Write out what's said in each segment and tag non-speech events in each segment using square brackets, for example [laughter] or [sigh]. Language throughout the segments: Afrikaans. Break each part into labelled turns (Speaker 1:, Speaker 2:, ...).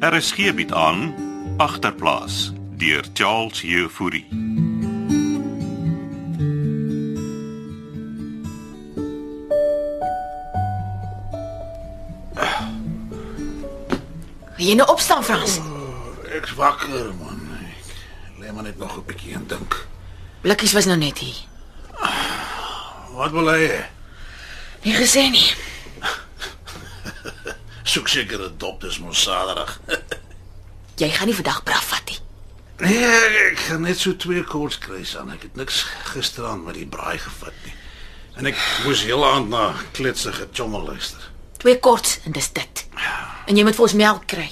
Speaker 1: RSG bied Er aan agterplaas deur Charles Jefouri.
Speaker 2: Wil jy nou opstaan, Frans?
Speaker 3: Ek's wakker man. Ek lê maar net nog 'n bietjie en dink.
Speaker 2: Blikkies was nou net hier.
Speaker 3: Wat wil hy? hê?
Speaker 2: Nie gesê nie.
Speaker 3: Soek seker 'n dop dis mos saderig.
Speaker 2: Jy gaan nie vandag braaf vat nie.
Speaker 3: [laughs] Nee, ek gaan net so twee koorts kry aan. Ek het niks gisteraan met die braai gevat nie. En ek moes heel aand na kletsige tjommel luister.
Speaker 2: Twee korts en dis dit. En jy moet vir ons melk kry.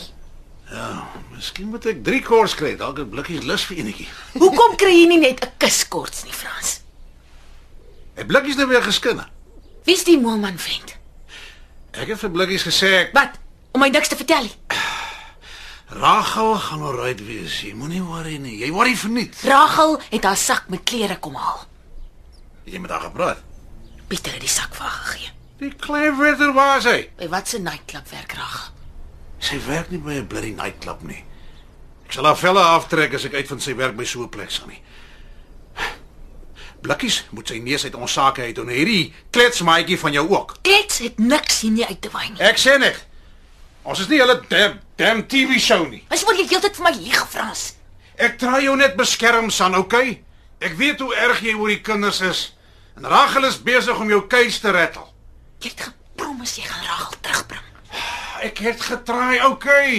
Speaker 3: Ja, miskien moet ek drie koorts kry. Dalk 'n blikkie lus vir enetjie.
Speaker 2: Hoekom kry jy nie net 'n kus korts nie, Frans?
Speaker 3: Het blikkies nou weer geskinne.
Speaker 2: Wie's die moelman vriend?
Speaker 3: Ek het vir blikkies gesê ek
Speaker 2: Wat? Om my niks te vertel nie.
Speaker 3: Rachel gaan alright wees. Jy moenie worry nie. Jy worry verniet.
Speaker 2: Rachel het haar sak met klere kom haal.
Speaker 3: Jy moet daar gepraat.
Speaker 2: Pieter het die sak vir haar gegee.
Speaker 3: Die klein witter was hy.
Speaker 2: By watse nightclub werk Rachel?
Speaker 3: Sy werk nie by 'n bloody nightclub nie. Ek sal haar velle aftrek as ek uit van sy werk by so 'n plek gaan nie. Blikkies moet sy neus uit ons sake uit en hierdie kletsmaatjie van jou ook.
Speaker 2: Klets het niks sien jy uit te wyn nie.
Speaker 3: Ek sê net. Ons is nie hulle damn damn TV show nie.
Speaker 2: Wat moet jy heeltyd vir my lieg, Frans?
Speaker 3: Ek try jou net beskerm San, okay? Ek weet hoe erg jy oor die kinders is en Rachel is besig om jou keus te rettel.
Speaker 2: Jy het gepromis jy gaan Rachel terugbring.
Speaker 3: Ek het getraai, okay.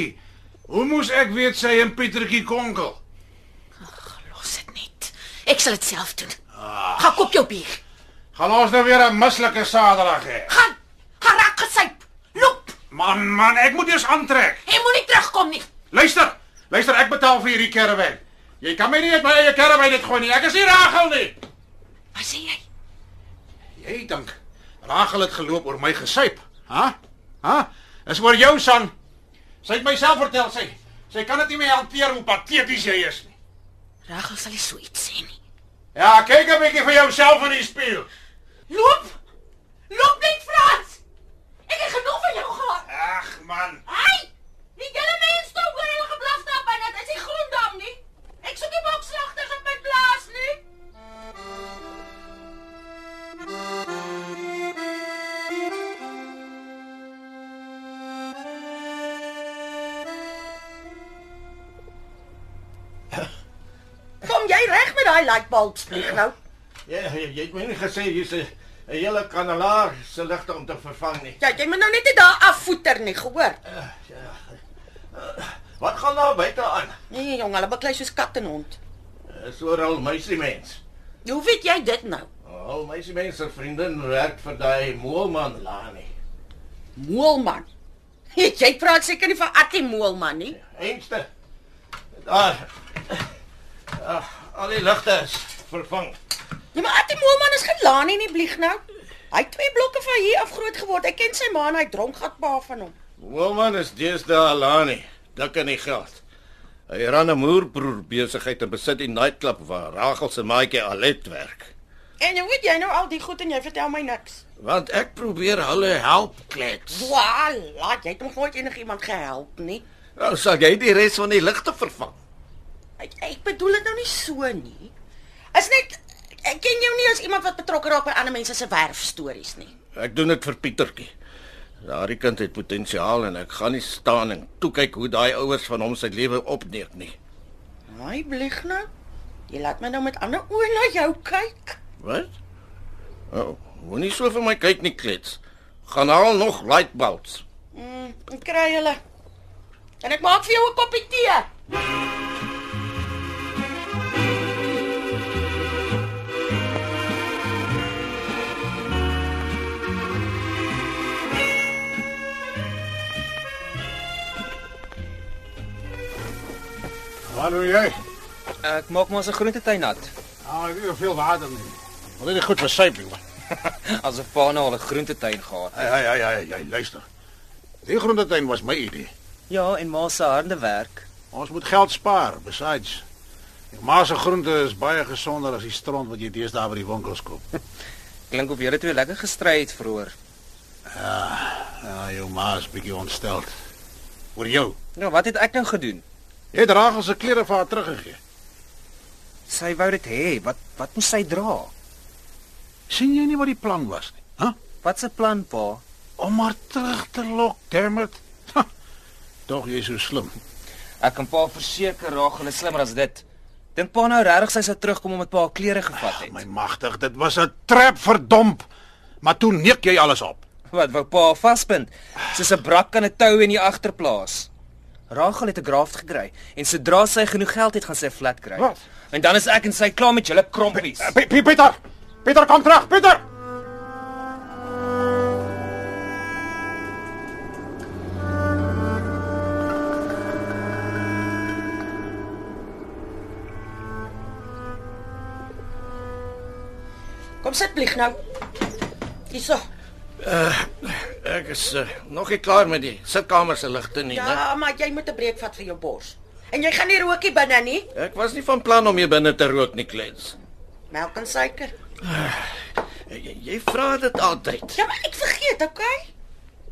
Speaker 3: Hoe moes ek weet sy en Pietertjie konkel?
Speaker 2: Los dit net. Ek sal dit self doen. Gaan koop jou bier.
Speaker 3: Gaan ons nou weer 'n mislike Saterdag hê.
Speaker 2: Gaan. Gaan raak gesyp. Loop.
Speaker 3: Man, man, ek moet eers aantrek.
Speaker 2: Jy moenie terugkom nie.
Speaker 3: Luister. Luister, ek betaal vir hierdie karavan. Jy kan my nie net my eie karavan net gooi nie. Ek is nie Rachel nie.
Speaker 2: Wat sê jy?
Speaker 3: Jy dink Rachel het geloop oor my gesuip, hè? Hè? Is oor jou son. Sy het myself vertel sy. Sy kan dit nie meer hanteer hoe pateties jy is nie.
Speaker 2: Rachel sal nie so iets sê nie.
Speaker 3: Ja, kyk 'n bietjie vir jouself in die spieël.
Speaker 2: Loop. Loop net Frans. Ek het genoeg van jou gehad.
Speaker 3: Ag man.
Speaker 2: Ai! Die hele mens stop oor hulle geblaf daar binne. Dit is nie Groendam nie. Ek soek nie bokslagtig op my plaas nie.
Speaker 4: Kom jy reg met daai lightbulbs vlieg nou?
Speaker 5: Ja, jy, jy het my nie gesê hier's 'n 'n hele kanelaar se ligte om te vervang nie.
Speaker 4: Ja, jy moet nou net nie daar afvoeter nie, gehoor?
Speaker 5: Ja. Wat gaan daar buite aan?
Speaker 4: Nee, jong, hulle beklei soos kat en hond.
Speaker 5: Is oral meisiemens.
Speaker 4: Hoe weet jy dit nou?
Speaker 5: Al meisiemens se vriendin werk vir daai moelman Lani.
Speaker 4: Moelman. [laughs] Jy praat seker nie van Attie Moelman nie.
Speaker 3: Ja.
Speaker 5: Eenste. Daar. Ag, al die ligte is vervang.
Speaker 4: Ja, maar Attie Moelman is geen laanie nie, vlieg nou. Hy het twee blokke van hier af groot geword. Ek ken sy ma en hy dronk gat pa van hom.
Speaker 5: Moelman is deesdae Lani, dik in die geld. Hy ran 'n moerbroer besigheid en besit die nightclub waar Rachel se maatjie Alet werk.
Speaker 4: En hoe weet jy nou al die goed en jy vertel my niks?
Speaker 5: Want ek probeer hulle help klets.
Speaker 4: Voilà, jy het nog nooit enigiemand gehelp nie.
Speaker 5: Nou sal jy die res van die ligte vervang.
Speaker 4: Ek, ek bedoel dit nou nie so nie. Is net ek ken jou nie as iemand wat betrokke raak by ander mense se werf stories nie.
Speaker 5: Ek doen dit vir Pietertjie. Daardie kind het potensiaal en ek gaan nie staan en toe kyk hoe daai ouers van hom sy lewe opneek nie.
Speaker 4: Haai blig nou. Jy laat my nou met ander oë na jou kyk.
Speaker 5: Wat? O, oh, moenie so vir my kyk nie klets. Gaan haal nog light bulbs.
Speaker 4: Mm, en kry hulle. En ek maak vir jou 'n koppie tee.
Speaker 3: Wat doen jy?
Speaker 6: Ek maak maar 'n groentetuin nat.
Speaker 3: Ah, ek het veel water nie. Wat is goed vir suiping?
Speaker 6: [laughs] Asof pa nou al 'n groentetuin gehad.
Speaker 3: Ja, ja, ja, ja, luister. Die groentetuin was my idee.
Speaker 6: Ja, en ma se harde werk.
Speaker 3: Ons moet geld spaar. Besides, jou ma se groente is baie gesonder as die stront wat jy deesdae by die winkels
Speaker 7: [laughs]
Speaker 3: koop.
Speaker 6: Klink of julle twee lekker gestry het vroeër.
Speaker 8: ja,
Speaker 3: Ja, jou ma is bietjie ontsteld.
Speaker 8: oor jou.
Speaker 7: Nou, wat het ek nou gedoen?
Speaker 8: Jy het Rachel se klere vir haar teruggegee.
Speaker 7: Sy wou dit hê. Wat wat moet sy dra?
Speaker 8: sien jy nie wat die plan was nie? Hæ?
Speaker 7: Wat se plan, pa?
Speaker 8: Om haar terug te lok, dammit. Ha, Tog jy is so slim.
Speaker 7: Ek kan pa verseker raak hulle slimmer as dit. Dink pa nou regtig sy sou terugkom omdat pa haar klere gevat het?
Speaker 8: My magtig, dit was 'n trap verdomp. Maar toe neek jy alles op.
Speaker 7: Wat wou pa haar vaspind? Soos 'n brak kan 'n tou in die agterplaas. Rachel het 'n graft gekry en sodra sy genoeg geld het, gaan sy 'n flat kry.
Speaker 8: Wat?
Speaker 7: En dan is ek en sy klaar met julle krompies.
Speaker 8: Eh, Pe- Pe- Pieter! Pieter kom terug, Pieter!
Speaker 2: Kom sit vlieg nou. Hierso.
Speaker 3: Ek is
Speaker 5: eh,
Speaker 3: uh, nog nie klaar met die sitkamer se ligte nie, né?
Speaker 2: Ja, maar jy moet 'n breek vat vir jou bors. En jy gaan nie rookie binne nie.
Speaker 3: Ek was nie van plan om hier binne te rook nie, Klens.
Speaker 2: Melk en suiker.
Speaker 3: Jy, jy vra dit altyd.
Speaker 2: Ja, maar ek vergeet, okay?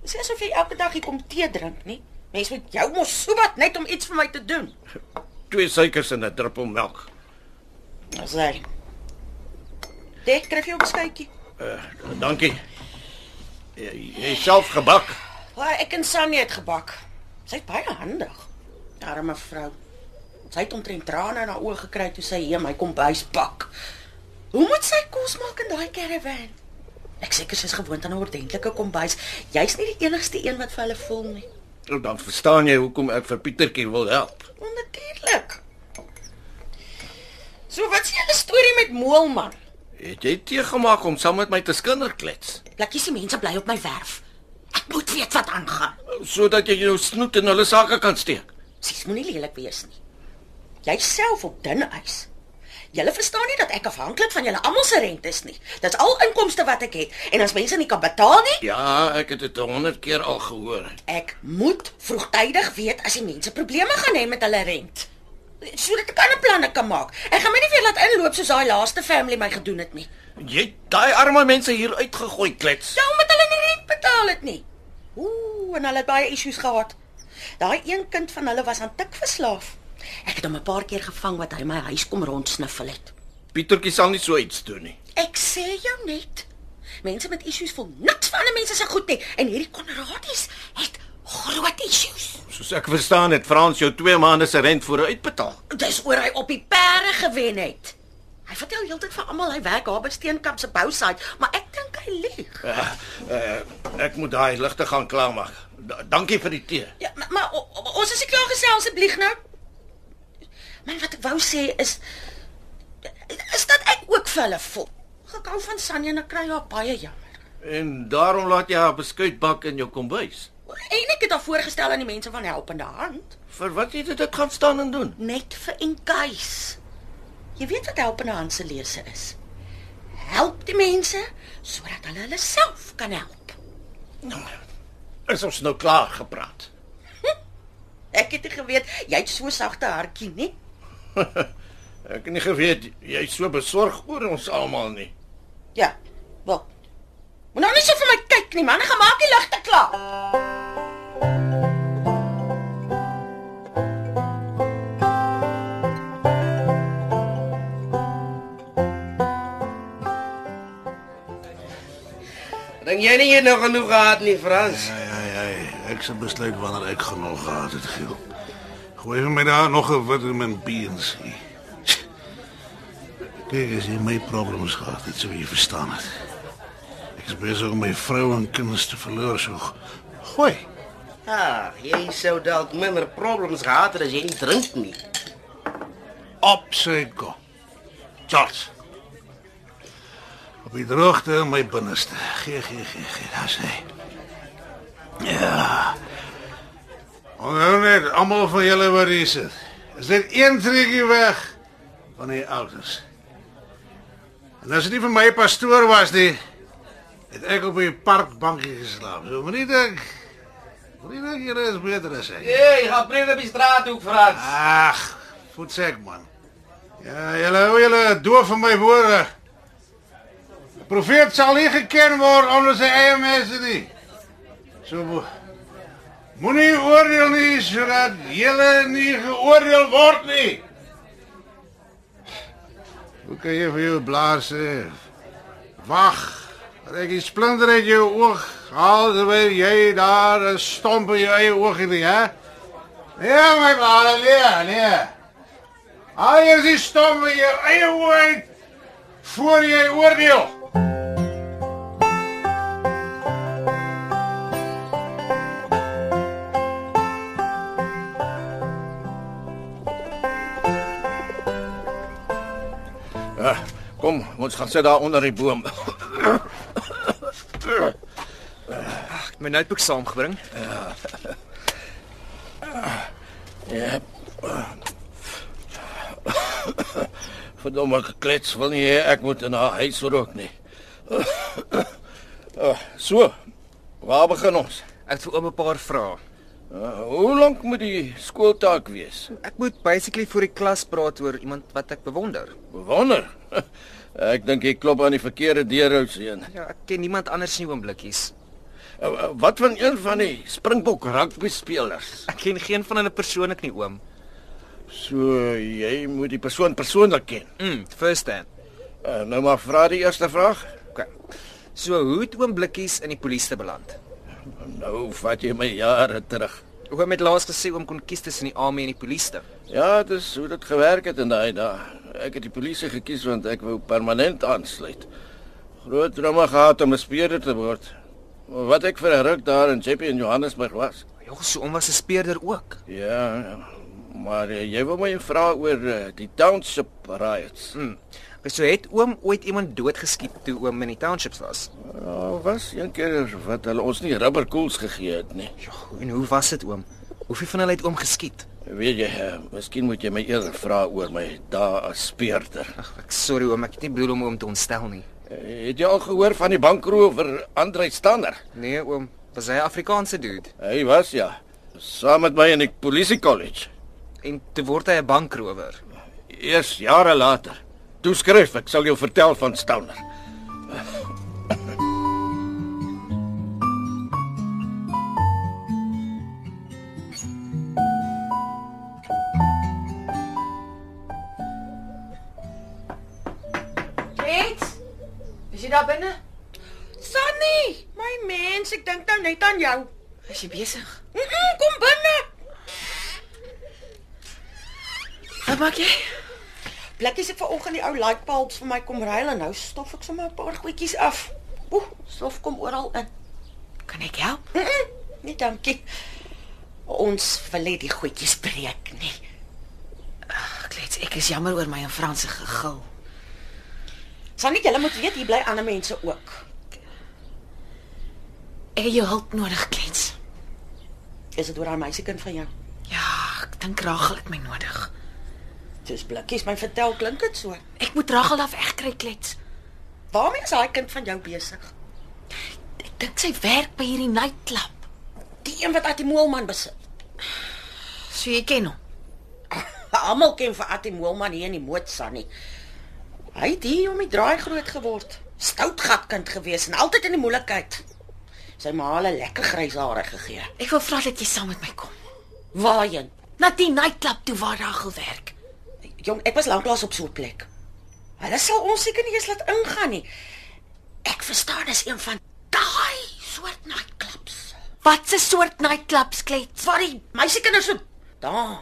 Speaker 2: Dis nie asof jy elke dag hier kom tee drink nie. Mens moet jou mos so wat net om iets vir my te doen.
Speaker 3: Twee suikers en 'n druppel melk.
Speaker 2: Dis reg. Dit kry jy op beskuitjie.
Speaker 3: Dankie. Jy, jy self gebak.
Speaker 2: Maar ek en Sannie het gebak. Sy's baie handig. Arme vrou. Sy het omtrent trane in haar oë gekry toe sy hom hy kom bys pak. Hoe moet sy kos maak in daai caravan? Ek seker sy's gewoond aan 'n ordentlike kombuis. Jy's nie die enigste een wat vir hulle voel nie.
Speaker 3: Nou, Dan verstaan jy hoekom ek vir Pietertjie wil help.
Speaker 2: Onnatuurlik. So wat is julle storie met Moelman?
Speaker 3: Het jy tee gemaak om saam met my te skinderklets
Speaker 2: Laat jy se mense bly op my werf. Ek moet weet wat aangaan.
Speaker 3: sodat jy jou snoet in hulle sakke kan steek?
Speaker 2: Sies moenie lelik wees nie. Jy self op dun ys. Julle verstaan nie dat ek afhanklik van julle almal se rente is nie. Dis al inkomste wat ek het en as mense nie kan betaal nie,
Speaker 3: Ja, ek het dit 100 keer al gehoor.
Speaker 2: ek moet vroegtydig weet as die mense probleme gaan hê met hulle rent. Sodat ek ander planne kan maak. Ek gaan my nie weer laat inloop soos daai laaste family my gedoen het nie.
Speaker 3: Jy het daai arme mense hier uitgegooi, klets.
Speaker 2: Sou met hulle nie rent betaal het nie. Ooh, en hulle het baie issues gehad. Daai een kind van hulle was aan tik verslaaf. Ek het hom 'n paar keer gevang wat hy my huis kom rondsniffel het.
Speaker 3: Pietertjie sal nie so iets doen nie.
Speaker 2: Ek sê jou net. Mense met issues voel niks van ander mense se goed nie en hierdie Konradies het groot issues.
Speaker 3: Soos ek verstaan het Frans jou 2 maande se rent vooruit betaal.
Speaker 2: Dis oor hy op die perde gewen het. Hy vertel heeltyd vir almal hy werk daar by Steenkamp se bousite, maar ek dink hy lieg.
Speaker 3: Uh, uh, ek moet daai ligte gaan klaarmaak. Da- Dankie vir die tee.
Speaker 2: Ja, maar, maar o, o, ons is nie klaar gesels asseblief nou. Man, wat ek wou sê is is dat ek ook vir hulle voel. Ek hou van Sanja en ek kry haar baie jammer.
Speaker 3: En daarom laat jy haar beskuit bak in jou kombuis.
Speaker 2: En ek het haar voorgestel aan die mense van Helpende Hand.
Speaker 3: Vir wat jy dit gaan staan en doen?
Speaker 2: net vir in case. Jy weet wat help in 'n handse lese is. Help die mense sodat hulle hulle self kan help.
Speaker 3: Is ons nou klaar gepraat?
Speaker 2: Ek het nie geweet jy het so sagte hartjie nie.
Speaker 3: Ek het nie geweet jy's so besorg oor ons almal nie.
Speaker 2: Ja. Wel. Moet nou nie so vir my kyk nie, man. Ek gaan maak die ligte klaar.
Speaker 9: Dink jy nie jy het nou genoeg gehad nie, Frans?
Speaker 8: Ai ai ai, ek se besluit wanneer ek genoeg gehad het, Giel. Gooi vir my daar nog 'n vitamin B en C. Kyk, as jy my problems gehad het, sou jy verstaan het. Ek is besig om my vrou en kinders te verloor so. Gooi.
Speaker 9: Ag, Ah, jy sou dalk minder problems gehad het as jy nie drink nie.
Speaker 8: Op sy kop. Charles. Op die droogte in my binneste. Gee, gee, gee, gee, daar's hy. Ja. Onthou net, almal van julle wat hier sit. Is dit een triekie weg van die ouders. En as dit nie vir my pastoor was nie, het ek op 'n parkbankie geslaap. So moenie dink. Moenie dink julle is beter as ek.
Speaker 9: Hey, gaan breek op die straathoek, Frans.
Speaker 8: Ag, voetsek man. Ja, julle hou julle doof oh, van my woorde. Die profeet sal nie geken word onder sy eie mense nie. So bo- Moenie oordeel nie sodat jy nie geoordeel word nie. Hoe kan jy vir jou blaas sê? Wag, dat ek die splinter uit jou oog haal terwyl jy daar 'n stomp in jou eie oog het, hè? Nee, my blaas, nee, nee. Haal jy die stomp in jou eie oog uit voor jy oordeel.
Speaker 3: Ja, kom, ons gaan sit daar onder die boom.
Speaker 7: Ek het my notebook saamgebring.
Speaker 3: Ja. Verdomme geklets wil nie hê ek moet in haar huis rook nie. Ah, So, waar begin ons?
Speaker 7: Ek het vir oom 'n paar vrae.
Speaker 3: Uh, Hoe lank moet die skooltaak wees?
Speaker 7: Ek moet basically voor die klas praat oor iemand wat ek bewonder.
Speaker 3: Wonder. [laughs] Ek dink jy klop aan die verkeerde Eh, deurhouds heen.
Speaker 7: Ja, ek ken niemand anders nie oom Blikkies.
Speaker 3: Uh, uh, Wat van een van die Springbok rugby spelers?
Speaker 7: Ek ken geen van hulle persoonlik nie oom.
Speaker 3: So jy moet die persoon persoonlik ken.
Speaker 7: Mm, first hand.
Speaker 3: Uh, Nou maar vra die eerste vraag.
Speaker 7: OK. So hoe het oom Blikkies in die polisie te beland?
Speaker 3: Nou vat jy my jare terug.
Speaker 7: Oom het laas gesê oom kon kies tussen die army en die polisie.
Speaker 3: Ja, dit is hoe dit gewerk het in daai dae. Ek het die polisie gekies want ek wou permanent aansluit. Groot drama gehad om 'n speurder te word. Maar Wat ek vir 'n ruk daar in Jeppe in Johannesburg was.
Speaker 7: Jogg, Ja, so oom was 'n speerder ook.
Speaker 3: Ja, maar eh, jy wil my vra oor eh, die township riots.
Speaker 7: Mm. Okay, so het oom ooit iemand doodgeskiet toe oom in die townships was?
Speaker 3: Daar was een keer wat hulle ons nie rubberkoels gegee het nie.
Speaker 7: Jogg, Ja, en hoe was dit oom? Hoeveel van hulle het oom geskiet?
Speaker 3: Weet jy, eh, miskien moet jy my eerder vra oor my dae as speurder.
Speaker 7: Ag, ek sorry oom, ek het nie bedoel om oom te ontstel nie.
Speaker 3: Eh, Het jy al gehoor van die bankroower Andre Stander?
Speaker 7: Nee oom, was hy 'n Afrikaanse dude
Speaker 3: Hy was ja, saam met my in die polisie kollege.
Speaker 7: en toe word hy 'n bankrower.
Speaker 3: Eers jare later. Toe skryf ek sal jou vertel van Stoner.
Speaker 10: Kate, is jy daar binne?
Speaker 2: Sunny, my mens, ek dink nou net aan jou.
Speaker 10: Is jy besig?
Speaker 2: Mm -mm, kom binne.
Speaker 10: Wat maak jy?
Speaker 2: Blikkies het vanoggend die ou lightbulbs vir my kom ruil en nou stof ek sommer 'n paar goedjies af. Oeh, stof kom oral in.
Speaker 10: Kan ek help?
Speaker 2: Mm -mm, nee, dankie. Ons wil net die goedjies breek nie.
Speaker 10: Ag, klets, ek is jammer oor my en Franse gegil.
Speaker 2: Sunny, jy moet weet hier bly ander mense ook.
Speaker 10: Ek het jou hulp nodig, klets.
Speaker 2: Is dit oor daai meisiekind van jou?
Speaker 10: Ja, ek dink Rachel het my nodig.
Speaker 2: Dis Blikkies my vertel klink dit so.
Speaker 10: Ek moet Rachel af regkry, klets.
Speaker 2: Waarmee is daai kind van jou besig?
Speaker 10: Ek dink sy werk by hierdie nightclub.
Speaker 2: Die een wat Attie Moelman besit.
Speaker 10: So jy ken hom.
Speaker 2: Almal ken vir Attie Moelman hier in die moed Sunny. Hy het hier om die draai groot geword. Stoutgat kind gewees en altyd in die moeilikheid. Sy ma het 'n lekker grys hare gegee.
Speaker 10: Ek wil vra dat jy saam met my kom.
Speaker 2: Waarheen?
Speaker 10: Na die nightclub toe waar Rachel werk.
Speaker 2: Jong, ek was lanklaas op so 'n plek. Hulle sal ons seker nie eens laat ingaan nie.
Speaker 10: Ek verstaan dis een van
Speaker 2: Daai soort nightclubs.
Speaker 10: wat se soort nightclubs, klets.
Speaker 2: Waar die meisiekinders so dans.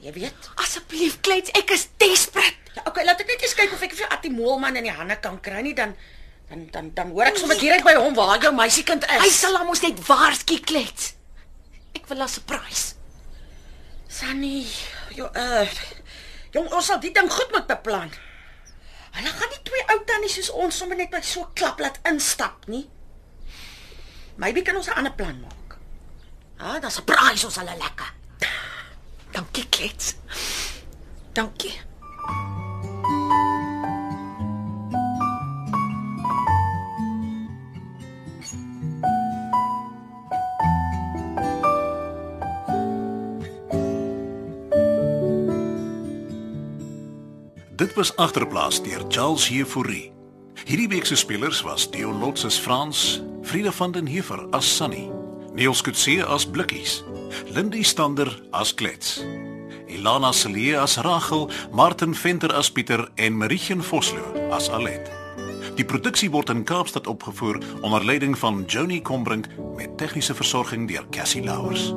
Speaker 2: Jy weet.
Speaker 10: Asseblief, klets, ek is desperate.
Speaker 2: Ja, okay, laat ek net eens kyk of ek vir Attie Moelman in die hande kan kry nie dan dan dan dan hoor ek sommer direk by hom waar jou meisiekind is.
Speaker 10: Hy sal hom ons net waarsku, klets. Ek wil 'n surprise.
Speaker 2: Sunny. Jo, uh Jong, ons sal die ding goed moet beplan. Hulle gaan nie twee ou tannies soos ons sommer net by so 'n klap laat instap nie. Maybe kan ons 'n ander plan maak.
Speaker 10: Ja, dan surprise ons hulle lekker. Dankie, klets. Dankie.
Speaker 1: Dit was agterplaas deur Charles Heffouri. Hierdie week se spelers was Theo Lots as Frans, Frida van den Heever as Sunny,
Speaker 8: Niels Kutse as Blikkies, Lindy Stander as Klets, Ilana Celie as Rachel, Martin Venter as Pieter en Marietjin Vosloo as Alet. Die produksie word in Kaapstad opgevoer onder leiding van Johnny Combrink met tegniese versorging deur Cassie Louws.